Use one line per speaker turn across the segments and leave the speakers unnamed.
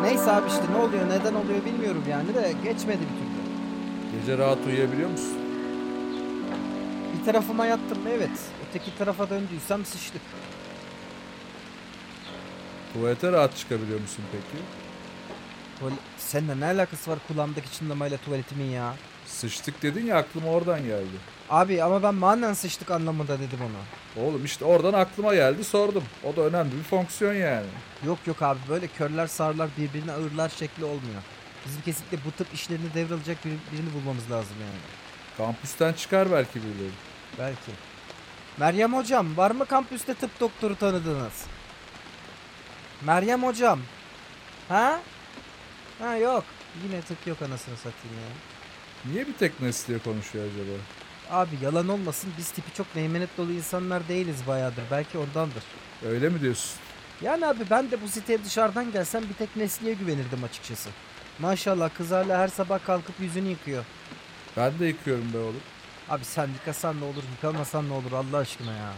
Neyse abi işte ne oluyor neden oluyor bilmiyorum yani de geçmedi bir türlü.
Gece rahat uyuyabiliyor musun?
Bir tarafıma yattım evet. Öteki tarafa döndüysem sıçtık.
Tuvalete rahat çıkabiliyor musun peki?
Tuval- Seninle ne alakası var kulağımdaki çınlamayla tuvaletimin ya?
Sıçtık dedin ya aklıma oradan geldi.
Abi ama ben manen sıçtık anlamında dedim ona.
Oğlum işte oradan aklıma geldi sordum. O da önemli bir fonksiyon yani.
Yok yok abi böyle körler sağırlar birbirine ağırlar şekli olmuyor. Bizim kesinlikle bu tıp işlerini devralacak bir- birini bulmamız lazım yani.
Kampüsten çıkar belki birileri.
Belki. Meryem hocam var mı kampüste tıp doktoru tanıdığınız? Meryem hocam. Ha? Ha yok. Yine tıp yok anasını satayım ya.
Niye bir tek Nesli'ye konuşuyor acaba?
Abi yalan olmasın biz tipi çok meymenet dolu insanlar değiliz bayağıdır. Belki ondandır.
Öyle mi diyorsun?
Yani abi ben de bu siteye dışarıdan gelsem bir tek Nesli'ye güvenirdim açıkçası. Maşallah kız hala her sabah kalkıp yüzünü yıkıyor.
Ben de yıkıyorum be oğlum.
Abi sen yıkasan ne olur yıkamasan ne olur Allah aşkına ya.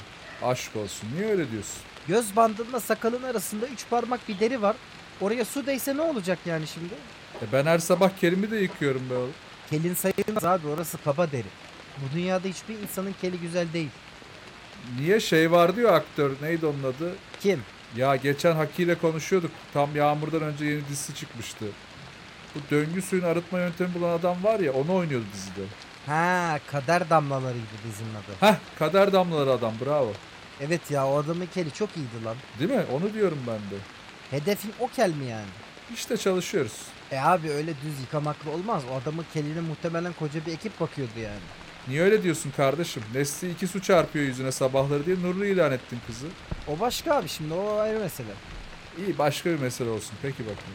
Aşk olsun. Niye öyle diyorsun?
Göz bandınla sakalın arasında üç parmak bir deri var. Oraya su değse ne olacak yani şimdi?
E ben her sabah Kerim'i de yıkıyorum be oğlum.
Kelin sayılmaz abi orası kaba deri. Bu dünyada hiçbir insanın keli güzel değil.
Niye şey var diyor aktör. Neydi onun adı?
Kim?
Ya geçen Haki ile konuşuyorduk. Tam Yağmur'dan önce yeni dizisi çıkmıştı. Bu döngü suyun arıtma yöntemi bulan adam var ya onu oynuyordu dizide.
Ha kader damlalarıydı dizinin adı.
Heh kader damlaları adam bravo.
Evet ya o adamın keli çok iyiydi lan.
Değil mi? Onu diyorum ben de.
Hedefin o kel mi yani?
İşte çalışıyoruz.
E abi öyle düz yıkamakla olmaz. O adamın keline muhtemelen koca bir ekip bakıyordu yani.
Niye öyle diyorsun kardeşim? Nesli iki su çarpıyor yüzüne sabahları diye Nurlu ilan ettin kızı.
O başka abi şimdi o ayrı mesele.
İyi başka bir mesele olsun. Peki bakın.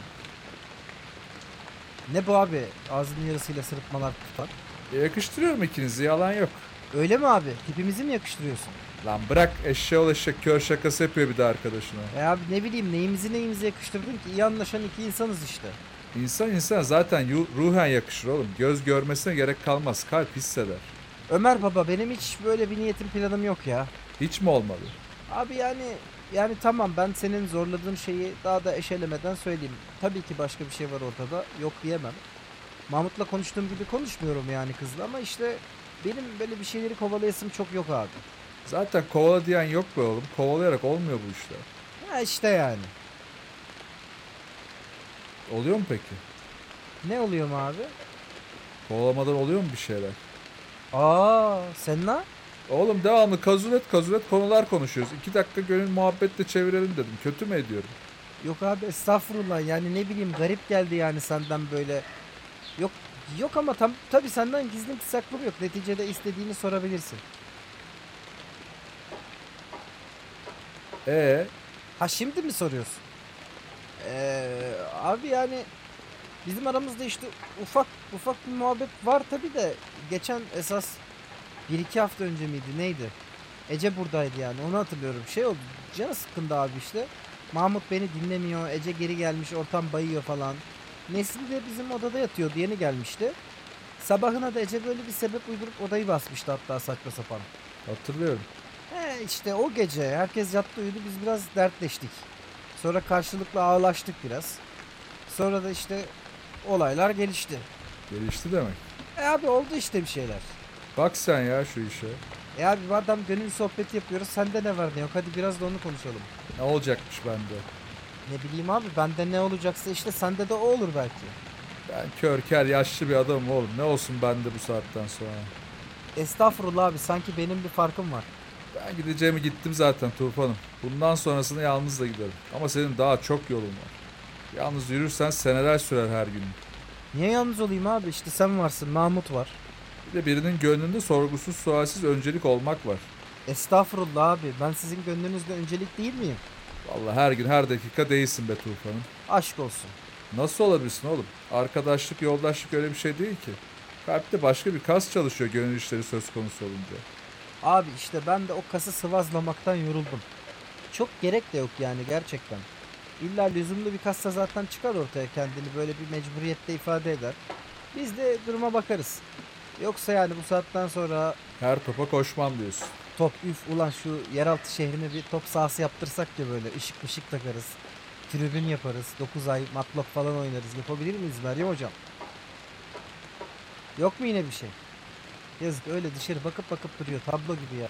Ne bu abi ağzının yarısıyla sırıtmalar tutar.
E, yakıştırıyorum ikinizi yalan yok.
Öyle mi abi? Tipimizi mi yakıştırıyorsun?
Lan bırak eşeğe ol eşek kör şakası yapıyor bir de arkadaşına.
E abi ne bileyim neyimizi neyimizi yakıştırdın ki iyi anlaşan iki insanız işte.
İnsan insan zaten yu- ruhen yakışır oğlum. Göz görmesine gerek kalmaz. Kalp hisseder.
Ömer baba benim hiç böyle bir niyetim planım yok ya.
Hiç mi olmalı?
Abi yani yani tamam ben senin zorladığın şeyi daha da eşelemeden söyleyeyim. Tabii ki başka bir şey var ortada. Yok diyemem. Mahmut'la konuştuğum gibi konuşmuyorum yani kızla ama işte benim böyle bir şeyleri kovalayasım çok yok abi.
Zaten kovala diyen yok be oğlum. Kovalayarak olmuyor bu işler.
Ha işte yani.
Oluyor mu peki?
Ne oluyor mu abi?
Kovalamadan oluyor mu bir şeyler?
Aa sen ne?
Oğlum devamlı kazulet kazulet konular konuşuyoruz. İki dakika gönül muhabbetle çevirelim dedim. Kötü mü ediyorum?
Yok abi estağfurullah yani ne bileyim garip geldi yani senden böyle. Yok yok ama tam tabii senden gizlim saklım yok. Neticede istediğini sorabilirsin.
Ee,
Ha şimdi mi soruyorsun? Ee, abi yani bizim aramızda işte ufak ufak bir muhabbet var tabi de geçen esas bir iki hafta önce miydi neydi? Ece buradaydı yani onu hatırlıyorum. Şey oldu canı sıkkındı abi işte. Mahmut beni dinlemiyor. Ece geri gelmiş ortam bayıyor falan. Nesli de bizim odada yatıyordu yeni gelmişti. Sabahına da Ece böyle bir sebep uydurup odayı basmıştı hatta saçma sapan.
hatırlıyorum.
He E, işte o gece herkes yattı uyudu biz biraz dertleştik. Sonra karşılıklı ağlaştık biraz. Sonra da işte olaylar gelişti.
Gelişti demek.
E abi oldu işte bir şeyler.
Bak sen ya şu işe.
E abi madem gönül sohbeti yapıyoruz sende ne var ne yok hadi biraz da onu konuşalım.
Ne olacakmış bende?
Ne bileyim abi bende ne olacaksa işte sende de o olur belki.
Ben kör ker yaşlı bir adamım oğlum. Ne olsun bende bu saatten sonra?
Estağfurullah abi sanki benim bir farkım var.
Ben gideceğimi gittim zaten Tufan'ım. Bundan sonrasını yalnız da giderim. Ama senin daha çok yolun var. Yalnız yürürsen seneler sürer her gün.
Niye yalnız olayım abi işte sen varsın Mahmut var.
Bir de birinin gönlünde sorgusuz sualsiz öncelik olmak var.
Estağfurullah abi ben sizin gönlünüzde öncelik değil miyim?
Vallahi her gün her dakika değilsin be Tufan'ım.
Aşk olsun.
Nasıl olabilirsin oğlum? Arkadaşlık, yoldaşlık öyle bir şey değil ki. Kalpte başka bir kas çalışıyor gönül işleri söz konusu olunca.
Abi işte ben de o kası sıvazlamaktan yoruldum. Çok gerek de yok yani gerçekten. İlla lüzumlu bir kassa zaten çıkar ortaya kendini böyle bir mecburiyette ifade eder. Biz de duruma bakarız. Yoksa yani bu saatten sonra
Her topa koşmam diyorsun.
top üf ulan şu yeraltı şehrine bir top sahası yaptırsak ya böyle ışık ışık takarız. tribün yaparız. 9 ay matlap falan oynarız. Yapabilir miyiz Meryem hocam? Yok mu yine bir şey? Yazık öyle dışarı bakıp bakıp duruyor. Tablo gibi ya.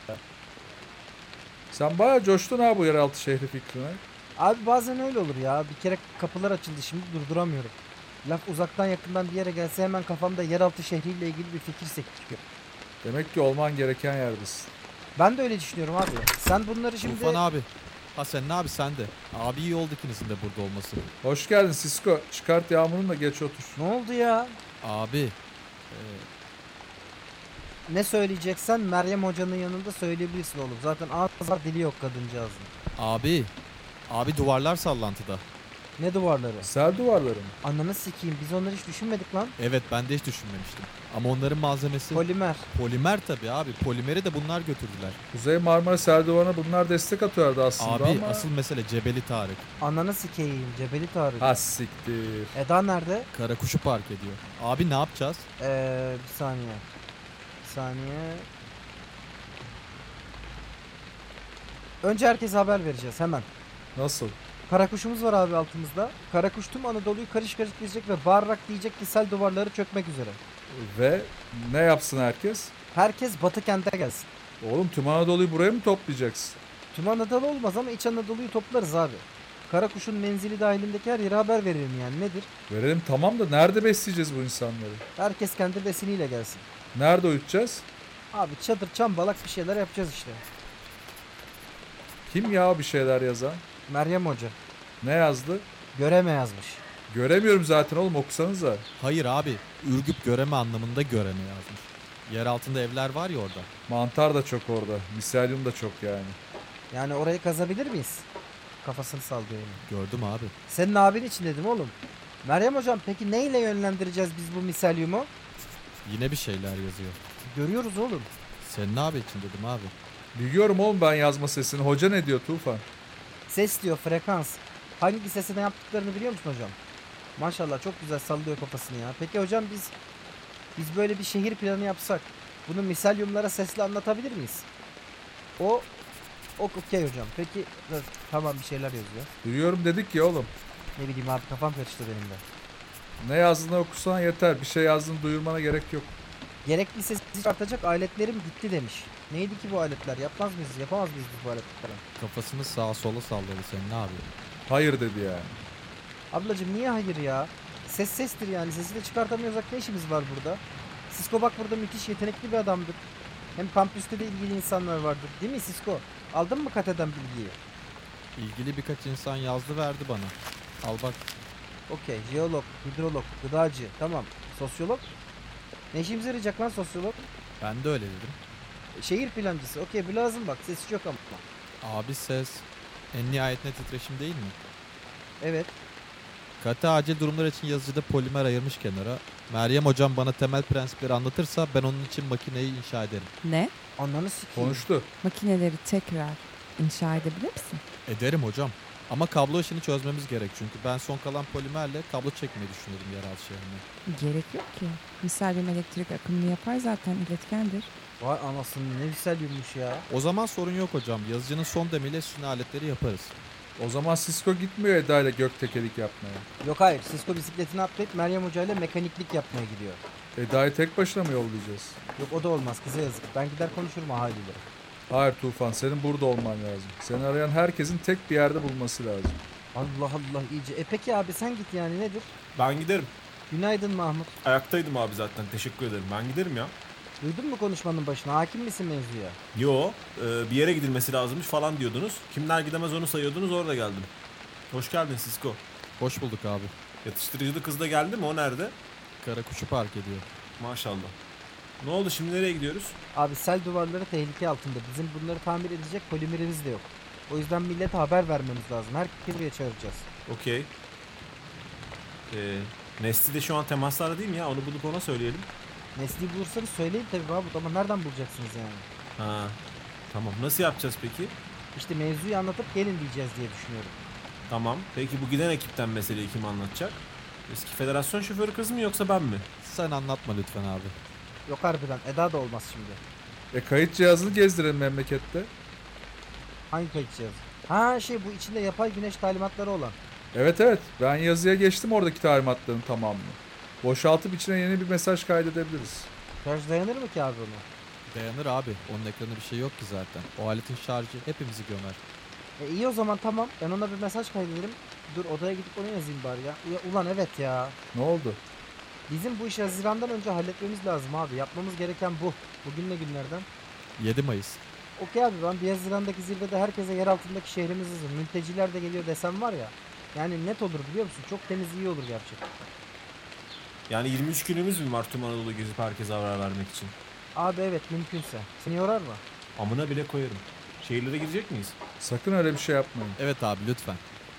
Sen bayağı coştun ha bu yeraltı şehri fikrine.
Abi bazen öyle olur ya. Bir kere kapılar açıldı şimdi durduramıyorum. Laf uzaktan yakından bir yere gelse hemen kafamda yeraltı şehriyle ilgili bir fikir sektiriyor.
Demek ki olman gereken yerdesin.
Ben de öyle düşünüyorum abi. Sen bunları şimdi...
Tufan abi. Ha sen ne abi sen de. Abi iyi oldu ikinizin de burada olması.
Hoş geldin Sisko. Çıkart yağmurunu da geç otur.
Ne oldu ya?
Abi. e,
Ne söyleyeceksen Meryem hocanın yanında söyleyebilirsin oğlum. Zaten ağız var dili yok kadıncağızın.
abi. Abi duvarlar sallantıda.
Ne duvarları?
Sel duvarları mı?
Ananı sikeyim biz onları hiç düşünmedik lan.
Evet ben de hiç düşünmemiştim. Ama onların malzemesi
Polimer.
polimer tabii abi. Polimeri de bunlar götürdüler.
Kuzey Marmara sel duvarına bunlar destek atıyordu aslında
Abi
ama...
asıl mesele Cebeli Tarık.
Ananı sikeyim. Cebeli Tarık.
Ha siktir.
Eda nerede?
Karakuşu park ediyor. Abi ne yapacağız?
Ee, bir saniye. Bir saniye. Önce herkese haber vereceğiz hemen.
Nasıl?
Karakuşumuz var abi altımızda. Karakuş tüm Anadolu'yu karış karış gezecek ve bağırarak diyecek ki sel duvarları çökmek üzere.
Ve ne yapsın herkes?
Herkes Batı kente gelsin.
Oğlum tüm Anadolu'yu buraya mı toplayacaksın?
Tüm Anadolu olmaz ama İç Anadolu'yu toplarız abi. Karakuş'un menzili dahilindeki her yere haber verelim yani nedir?
Verelim tamam da nerede besleyeceğiz bu insanları?
Herkes kendi besiniyle gelsin.
Nerede uyutacağız?
Abi çadır çambalak bir şeyler yapacağız işte.
Kim ya bir şeyler yazan?
Meryem Hoca.
Ne yazdı?
Göreme yazmış.
Göremiyorum zaten oğlum okusanıza.
Hayır abi. Ürgüp göreme anlamında göreme yazmış. Yer altında evler var ya orada.
Mantar da çok orada. Misalyum da çok yani.
Yani orayı kazabilir miyiz? Kafasını sallıyor yine.
Gördüm abi.
Senin abin için dedim oğlum. Meryem Hocam peki neyle yönlendireceğiz biz bu miselyumu?
Yine bir şeyler yazıyor.
Görüyoruz oğlum.
Senin abi için dedim abi.
Biliyorum oğlum ben yazma sesini. Hoca ne diyor Tufan?
Ses diyor frekans. Hangi sesine yaptıklarını biliyor musun hocam? Maşallah çok güzel sallıyor kafasını ya. Peki hocam biz biz böyle bir şehir planı yapsak bunu miselyumlara sesle anlatabilir miyiz? O o okey hocam. Peki dur, tamam bir şeyler yazıyor.
Biliyorum dedik ya oğlum.
Ne bileyim abi kafam karıştı benim de.
Ne yazdığını okusan yeter. Bir şey yazdığını duyurmana gerek yok.
Gerekli sesi çıkartacak aletlerim gitti demiş. Neydi ki bu aletler? Yapmaz mıyız? Yapamaz mıyız biz bu aletlerle?
Kafasını sağa sola salladı senin abi.
Hayır dedi yani.
Ablacım niye hayır ya? Ses sestir yani. Sesi de çıkartamıyorsak ne işimiz var burada? Sisko bak burada müthiş yetenekli bir adamdır. Hem kampüste de ilgili insanlar vardır. Değil mi Sisko? Aldın mı kateden bilgiyi?
İlgili birkaç insan yazdı verdi bana. Al bak
Okey. Jeolog, hidrolog, gıdacı. Tamam. Sosyolog? Ne işimize yarayacak lan sosyolog?
ben de öyle dedim.
Şehir plancısı. Okey bu lazım bak. Sesi yok ama.
Abi ses en nihayetinde titreşim değil mi?
Evet.
Katı acil durumlar için yazıcıda polimer ayırmış kenara. Meryem hocam bana temel prensipleri anlatırsa ben onun için makineyi inşa ederim.
Ne?
Ananı sikeyim.
Konuştu.
Makineleri tekrar inşa edebilir misin?
Ederim hocam. Ama kablo işini çözmemiz gerek çünkü ben son kalan polimerle kablo çekmeyi düşünüyordum yeraltı şehrine.
Gerek yok ki. Misalyum elektrik akımını yapar zaten iletkendir.
Vay anasını ne yükselmiş ya.
O zaman sorun yok hocam. Yazıcının son demiyle üstüne aletleri yaparız.
O zaman Sisko gitmiyor Eda ile göktekelik yapmaya.
Yok hayır. Sisko bisikletini atlayıp Meryem Hoca ile mekaniklik yapmaya gidiyor.
Eda'yı tek başına mı yollayacağız?
Yok o da olmaz. Kıza yazık. Ben gider konuşurum ahaliyle.
Hayır Tufan senin burada olman lazım. Seni arayan herkesin tek bir yerde bulması lazım.
Allah Allah iyice. E peki abi sen git yani nedir?
Ben giderim.
Günaydın Mahmut.
Ayaktaydım abi zaten. Teşekkür ederim. Ben giderim ya.
Duydun mu konuşmanın başına? Hakim misin mevzuya?
Yo, e, bir yere gidilmesi lazımmış falan diyordunuz. Kimler gidemez onu sayıyordunuz. Orada geldim. Hoş geldin Sisko.
Hoş bulduk abi.
Yatıştırıcılı kız da geldi mi? O nerede?
Karakuşu park ediyor.
Maşallah. Ne oldu şimdi nereye gidiyoruz?
Abi sel duvarları tehlike altında. Bizim bunları tamir edecek polimerimiz de yok. O yüzden millete haber vermemiz lazım. Herkesi buraya çağıracağız.
Okey. E, Nesli de şu an temaslarda değil mi ya? Onu bulup ona söyleyelim.
Nesli bulursanız söyleyin tabii Mahmut ama nereden bulacaksınız yani?
Ha. Tamam. Nasıl yapacağız peki?
İşte mevzuyu anlatıp gelin diyeceğiz diye düşünüyorum.
Tamam. Peki bu giden ekipten meseleyi kim anlatacak? Eski federasyon şoförü kız mı yoksa ben mi?
Sen anlatma lütfen abi.
Yok harbiden Eda da olmaz şimdi.
E kayıt cihazını gezdirelim memlekette.
Hangi kayıt cihazı? Ha şey bu içinde yapay güneş talimatları olan.
Evet evet ben yazıya geçtim oradaki talimatların tamamını. Boşaltıp içine yeni bir mesaj kaydedebiliriz.
Şarj dayanır mı ki abi ona?
Dayanır abi. Onun ekranı bir şey yok ki zaten. O aletin şarjı hepimizi gömer.
E iyi o zaman tamam. Ben ona bir mesaj kaydederim. Dur odaya gidip onu yazayım bari ya. Ya Ulan evet ya.
Ne oldu?
Bizim bu işi Haziran'dan önce halletmemiz lazım abi. Yapmamız gereken bu. Bugün ne günlerden?
7 Mayıs.
Okey abi ben bir Haziran'daki zirvede herkese yer altındaki şehrimiz hazır. Mülteciler de geliyor desem var ya. Yani net olur biliyor musun? Çok temiz iyi olur gerçekten.
Yani 23 günümüz mü var tüm Anadolu gezip herkese haber vermek için?
Abi evet mümkünse. Seni yorar mı?
Amına bile koyarım. Şehirlere gidecek miyiz?
Sakın öyle bir şey yapmayın.
Evet abi lütfen.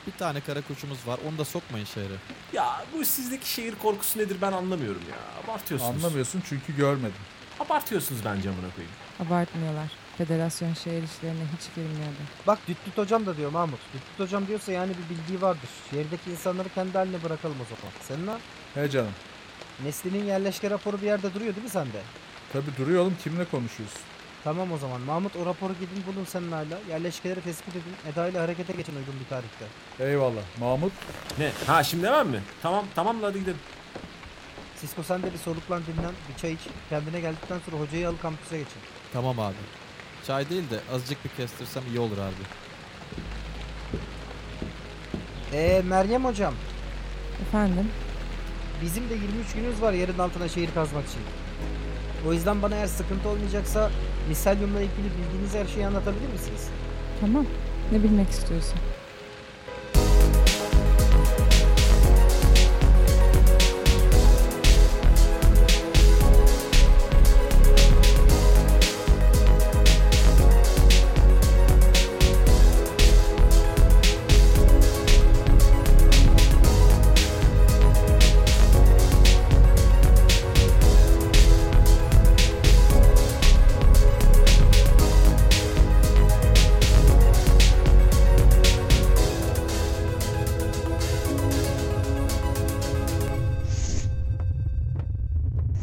Bir tane kara kuşumuz var. Onu da sokmayın şehre.
Ya bu sizdeki şehir korkusu nedir ben anlamıyorum ya. Abartıyorsunuz.
Anlamıyorsun çünkü görmedim.
Abartıyorsunuz bence amına koyayım.
Abartmıyorlar. Federasyon şehir işlerine hiç girmiyordu.
Bak Düttüt hocam da diyor Mahmut. Düttüt hocam diyorsa yani bir bildiği vardır. Şehirdeki insanları kendi haline bırakalım o zaman. Senin ha?
He canım.
Neslinin yerleşke raporu bir yerde duruyor değil mi sende?
Tabi duruyor oğlum kimle konuşuyorsun?
Tamam o zaman. Mahmut o raporu gidin bulun senin hala. Yerleşkeleri tespit edin. Eda ile harekete geçin uygun bir tarihte.
Eyvallah. Mahmut
Ne? Ha şimdi hemen mi? Tamam tamam hadi gidelim.
Sisko sen de bir soluklan dinlen. Bir çay iç. Kendine geldikten sonra hocayı al kampüse geçin.
Tamam abi. Çay değil de azıcık bir kestirsem iyi olur abi.
Eee Meryem hocam.
Efendim?
Bizim de 23 günümüz var yerin altına şehir kazmak için. O yüzden bana eğer sıkıntı olmayacaksa misalyumla ilgili bildiğiniz her şeyi anlatabilir misiniz?
Tamam. Ne bilmek istiyorsun?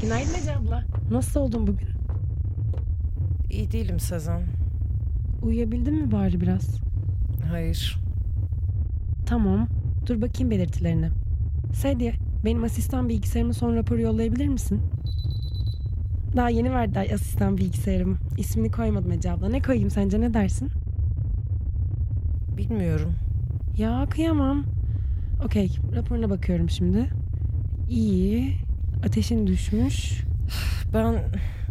Günaydın Ece abla.
Nasıl oldun bugün?
İyi değilim Sezen.
Uyuyabildin mi bari biraz?
Hayır.
Tamam. Dur bakayım belirtilerine. Sedye, benim asistan bilgisayarımın son raporu yollayabilir misin? Daha yeni verdiler asistan bilgisayarımı. İsmini koymadım Ece abla. Ne koyayım sence ne dersin?
Bilmiyorum.
Ya kıyamam. Okey, raporuna bakıyorum şimdi. İyi. Ateşin düşmüş.
Ben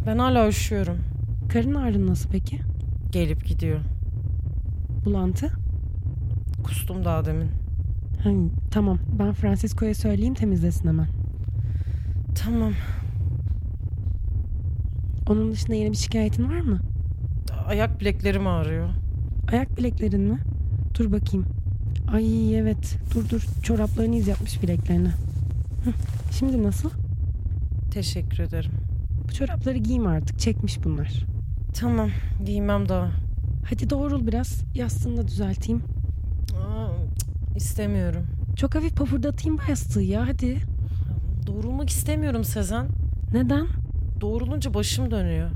ben hala üşüyorum.
Karın ağrın nasıl peki?
Gelip gidiyor.
Bulantı?
Kustum daha demin.
Hani, tamam, ben Francisco'ya söyleyeyim temizlesin hemen.
Tamam.
Onun dışında yeni bir şikayetin var mı?
Ayak bileklerim ağrıyor.
Ayak bileklerin mi? Dur bakayım. Ay evet. Dur dur. Çoraplarını iz yapmış bileklerine. Hıh, Şimdi nasıl?
Teşekkür ederim.
Bu çorapları giyme artık. Çekmiş bunlar.
Tamam. Giymem daha.
Hadi doğrul biraz. Yastığını da düzelteyim.
Aa, cık, istemiyorum.
Çok hafif pafurdatayım bu yastığı ya. Hadi.
Doğrulmak istemiyorum Sezen.
Neden?
Doğrulunca başım dönüyor.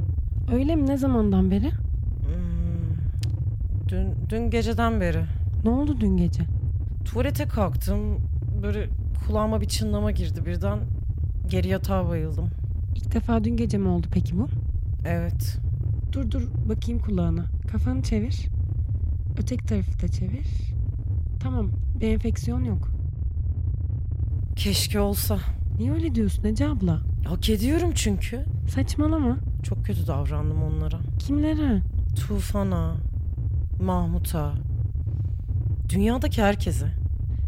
Öyle mi? Ne zamandan beri?
Hmm. Dün, dün geceden beri.
Ne oldu dün gece?
Tuvalete kalktım. Böyle kulağıma bir çınlama girdi birden. Geri yatağa bayıldım.
İlk defa dün gece mi oldu peki bu?
Evet.
Dur dur bakayım kulağına. Kafanı çevir. Öteki tarafı da çevir. Tamam. Bir enfeksiyon yok.
Keşke olsa.
Niye öyle diyorsun Ece abla?
Hak ediyorum çünkü.
Saçmalama.
Çok kötü davrandım onlara.
Kimlere?
Tufan'a, Mahmut'a, dünyadaki herkese.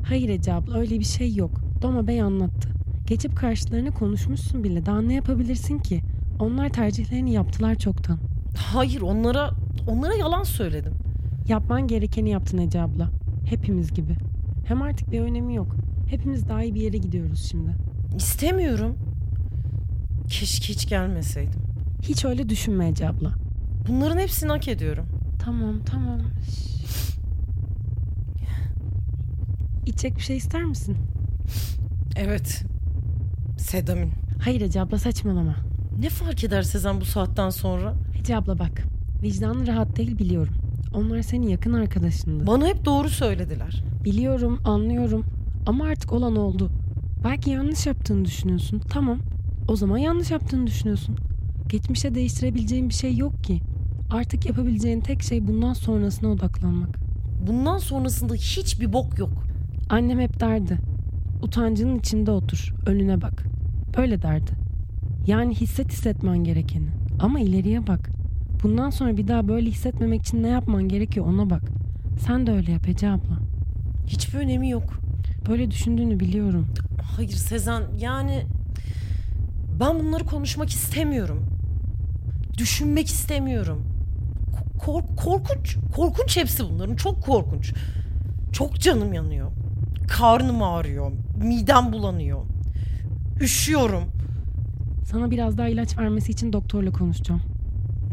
Hayır Ece abla öyle bir şey yok. Doma Bey anlattı. Geçip karşılarına konuşmuşsun bile. Daha ne yapabilirsin ki? Onlar tercihlerini yaptılar çoktan.
Hayır onlara onlara yalan söyledim.
Yapman gerekeni yaptın Ece abla. Hepimiz gibi. Hem artık bir önemi yok. Hepimiz daha iyi bir yere gidiyoruz şimdi.
İstemiyorum. Keşke hiç gelmeseydim.
Hiç öyle düşünme Ece abla.
Bunların hepsini hak ediyorum.
Tamam tamam. Şş. İçecek bir şey ister misin?
Evet. Sedamin.
Hayır Ece abla saçmalama.
Ne fark eder Sezen bu saatten sonra?
Ece abla bak. Vicdanın rahat değil biliyorum. Onlar senin yakın arkadaşındı.
Bana hep doğru söylediler.
Biliyorum, anlıyorum. Ama artık olan oldu. Belki yanlış yaptığını düşünüyorsun. Tamam. O zaman yanlış yaptığını düşünüyorsun. Geçmişte değiştirebileceğin bir şey yok ki. Artık yapabileceğin tek şey bundan sonrasına odaklanmak.
Bundan sonrasında hiçbir bok yok.
Annem hep derdi. Utancının içinde otur, önüne bak. Böyle derdi. Yani hisset hissetmen gerekeni. Ama ileriye bak. Bundan sonra bir daha böyle hissetmemek için ne yapman gerekiyor ona bak. Sen de öyle yap Ece abla.
Hiçbir önemi yok.
Böyle düşündüğünü biliyorum.
Hayır Sezen yani ben bunları konuşmak istemiyorum. Düşünmek istemiyorum. Ko- kork- korkunç. Korkunç hepsi bunların. Çok korkunç. Çok canım yanıyor. Karnım ağrıyor. Midem bulanıyor. Üşüyorum.
Sana biraz daha ilaç vermesi için doktorla konuşacağım.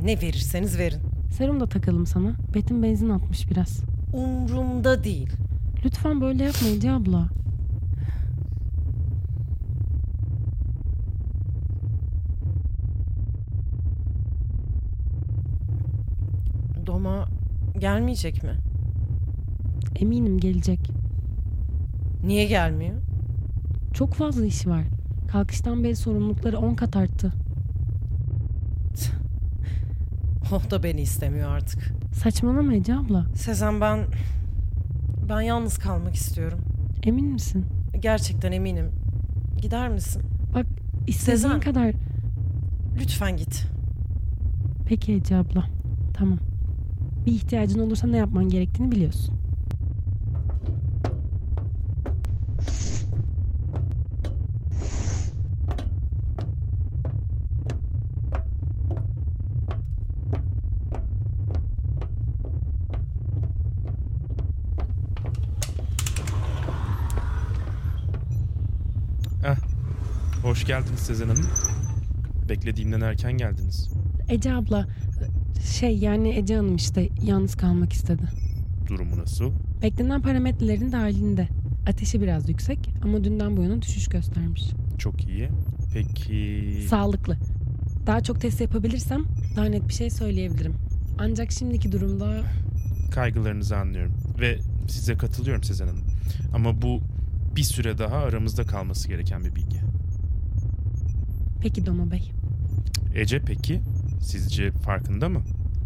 Ne verirseniz verin.
Serum da takalım sana. Betim benzin atmış biraz.
Umrumda değil.
Lütfen böyle yapma Ece abla.
Doma gelmeyecek mi?
Eminim gelecek.
Niye gelmiyor?
Çok fazla işi var. Kalkıştan beri sorumlulukları 10 kat arttı.
Oh da beni istemiyor artık.
Saçmalama Ece abla.
Sezen ben... Ben yalnız kalmak istiyorum.
Emin misin?
Gerçekten eminim. Gider misin?
İstediğin
Sezen.
kadar.
Lütfen git.
Peki Ece abla. Tamam. Bir ihtiyacın olursa ne yapman gerektiğini biliyorsun.
Hoş geldiniz Sezen Hanım. Beklediğimden erken geldiniz.
Ece abla şey yani Ece Hanım işte yalnız kalmak istedi.
Durumu nasıl?
Beklenen parametrelerin dahilinde. Ateşi biraz yüksek ama dünden bu yana düşüş göstermiş.
Çok iyi. Peki...
Sağlıklı. Daha çok test yapabilirsem daha net bir şey söyleyebilirim. Ancak şimdiki durumda
Kaygılarınızı anlıyorum. Ve size katılıyorum Sezen Hanım. Ama bu bir süre daha aramızda kalması gereken bir bilgi.
peki Doma Bey.
Ece peki? Sizce farkında mı?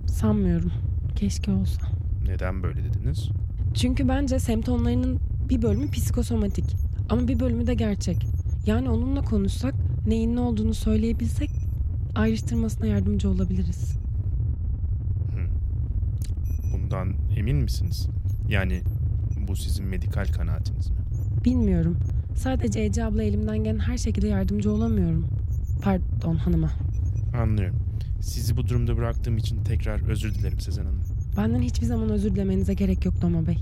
Sanmıyorum. Keşke olsa.
Neden böyle dediniz?
Çünkü bence semptomlarının bir bölümü psikosomatik ama bir bölümü de gerçek. Yani onunla konuşsak neyin ne olduğunu söyleyebilsek ayrıştırmasına yardımcı olabiliriz.
Bundan emin misiniz? Yani bu sizin medikal kanaatiniz mi?
Bilmiyorum. Sadece Ece abla elimden gelen her şekilde yardımcı olamıyorum. Pardon hanıma.
Anlıyorum. Sizi bu durumda bıraktığım için tekrar özür dilerim Sezen Hanım.
Benden hiçbir zaman özür dilemenize gerek yok Doma Bey.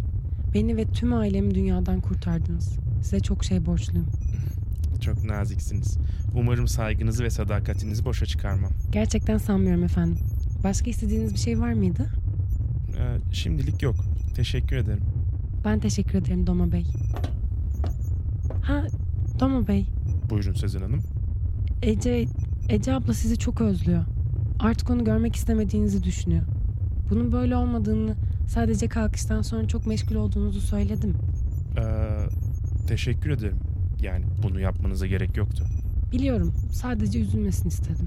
Beni ve tüm ailemi dünyadan kurtardınız. Size çok şey borçluyum.
Çok naziksiniz. Umarım saygınızı ve sadakatinizi boşa çıkarmam.
Gerçekten sanmıyorum efendim. Başka istediğiniz bir şey var mıydı?
Ee, şimdilik yok. Teşekkür ederim.
Ben teşekkür ederim Doma Bey. Ha Doma Bey,
Buyurun Sezen Hanım.
Ece, Ece abla sizi çok özlüyor. Artık onu görmek istemediğinizi düşünüyor. Bunun böyle olmadığını, sadece kalkıştan sonra çok meşgul olduğunuzu söyledim.
Ee, teşekkür ederim. Yani bunu yapmanıza gerek yoktu.
Biliyorum, sadece üzülmesini istedim.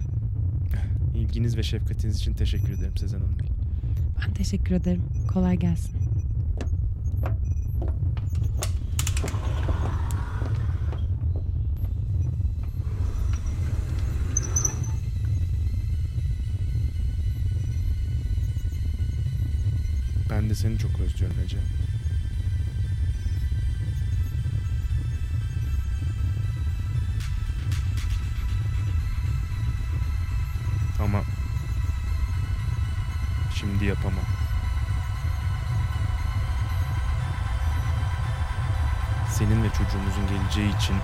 İlginiz ve şefkatiniz için teşekkür ederim Sezen Hanım.
Ben teşekkür ederim. Kolay gelsin.
Ben de seni çok özlüyorum Ece. Ama şimdi yapamam. Senin ve çocuğumuzun geleceği için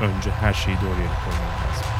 önce her şeyi doğru yere koymam lazım.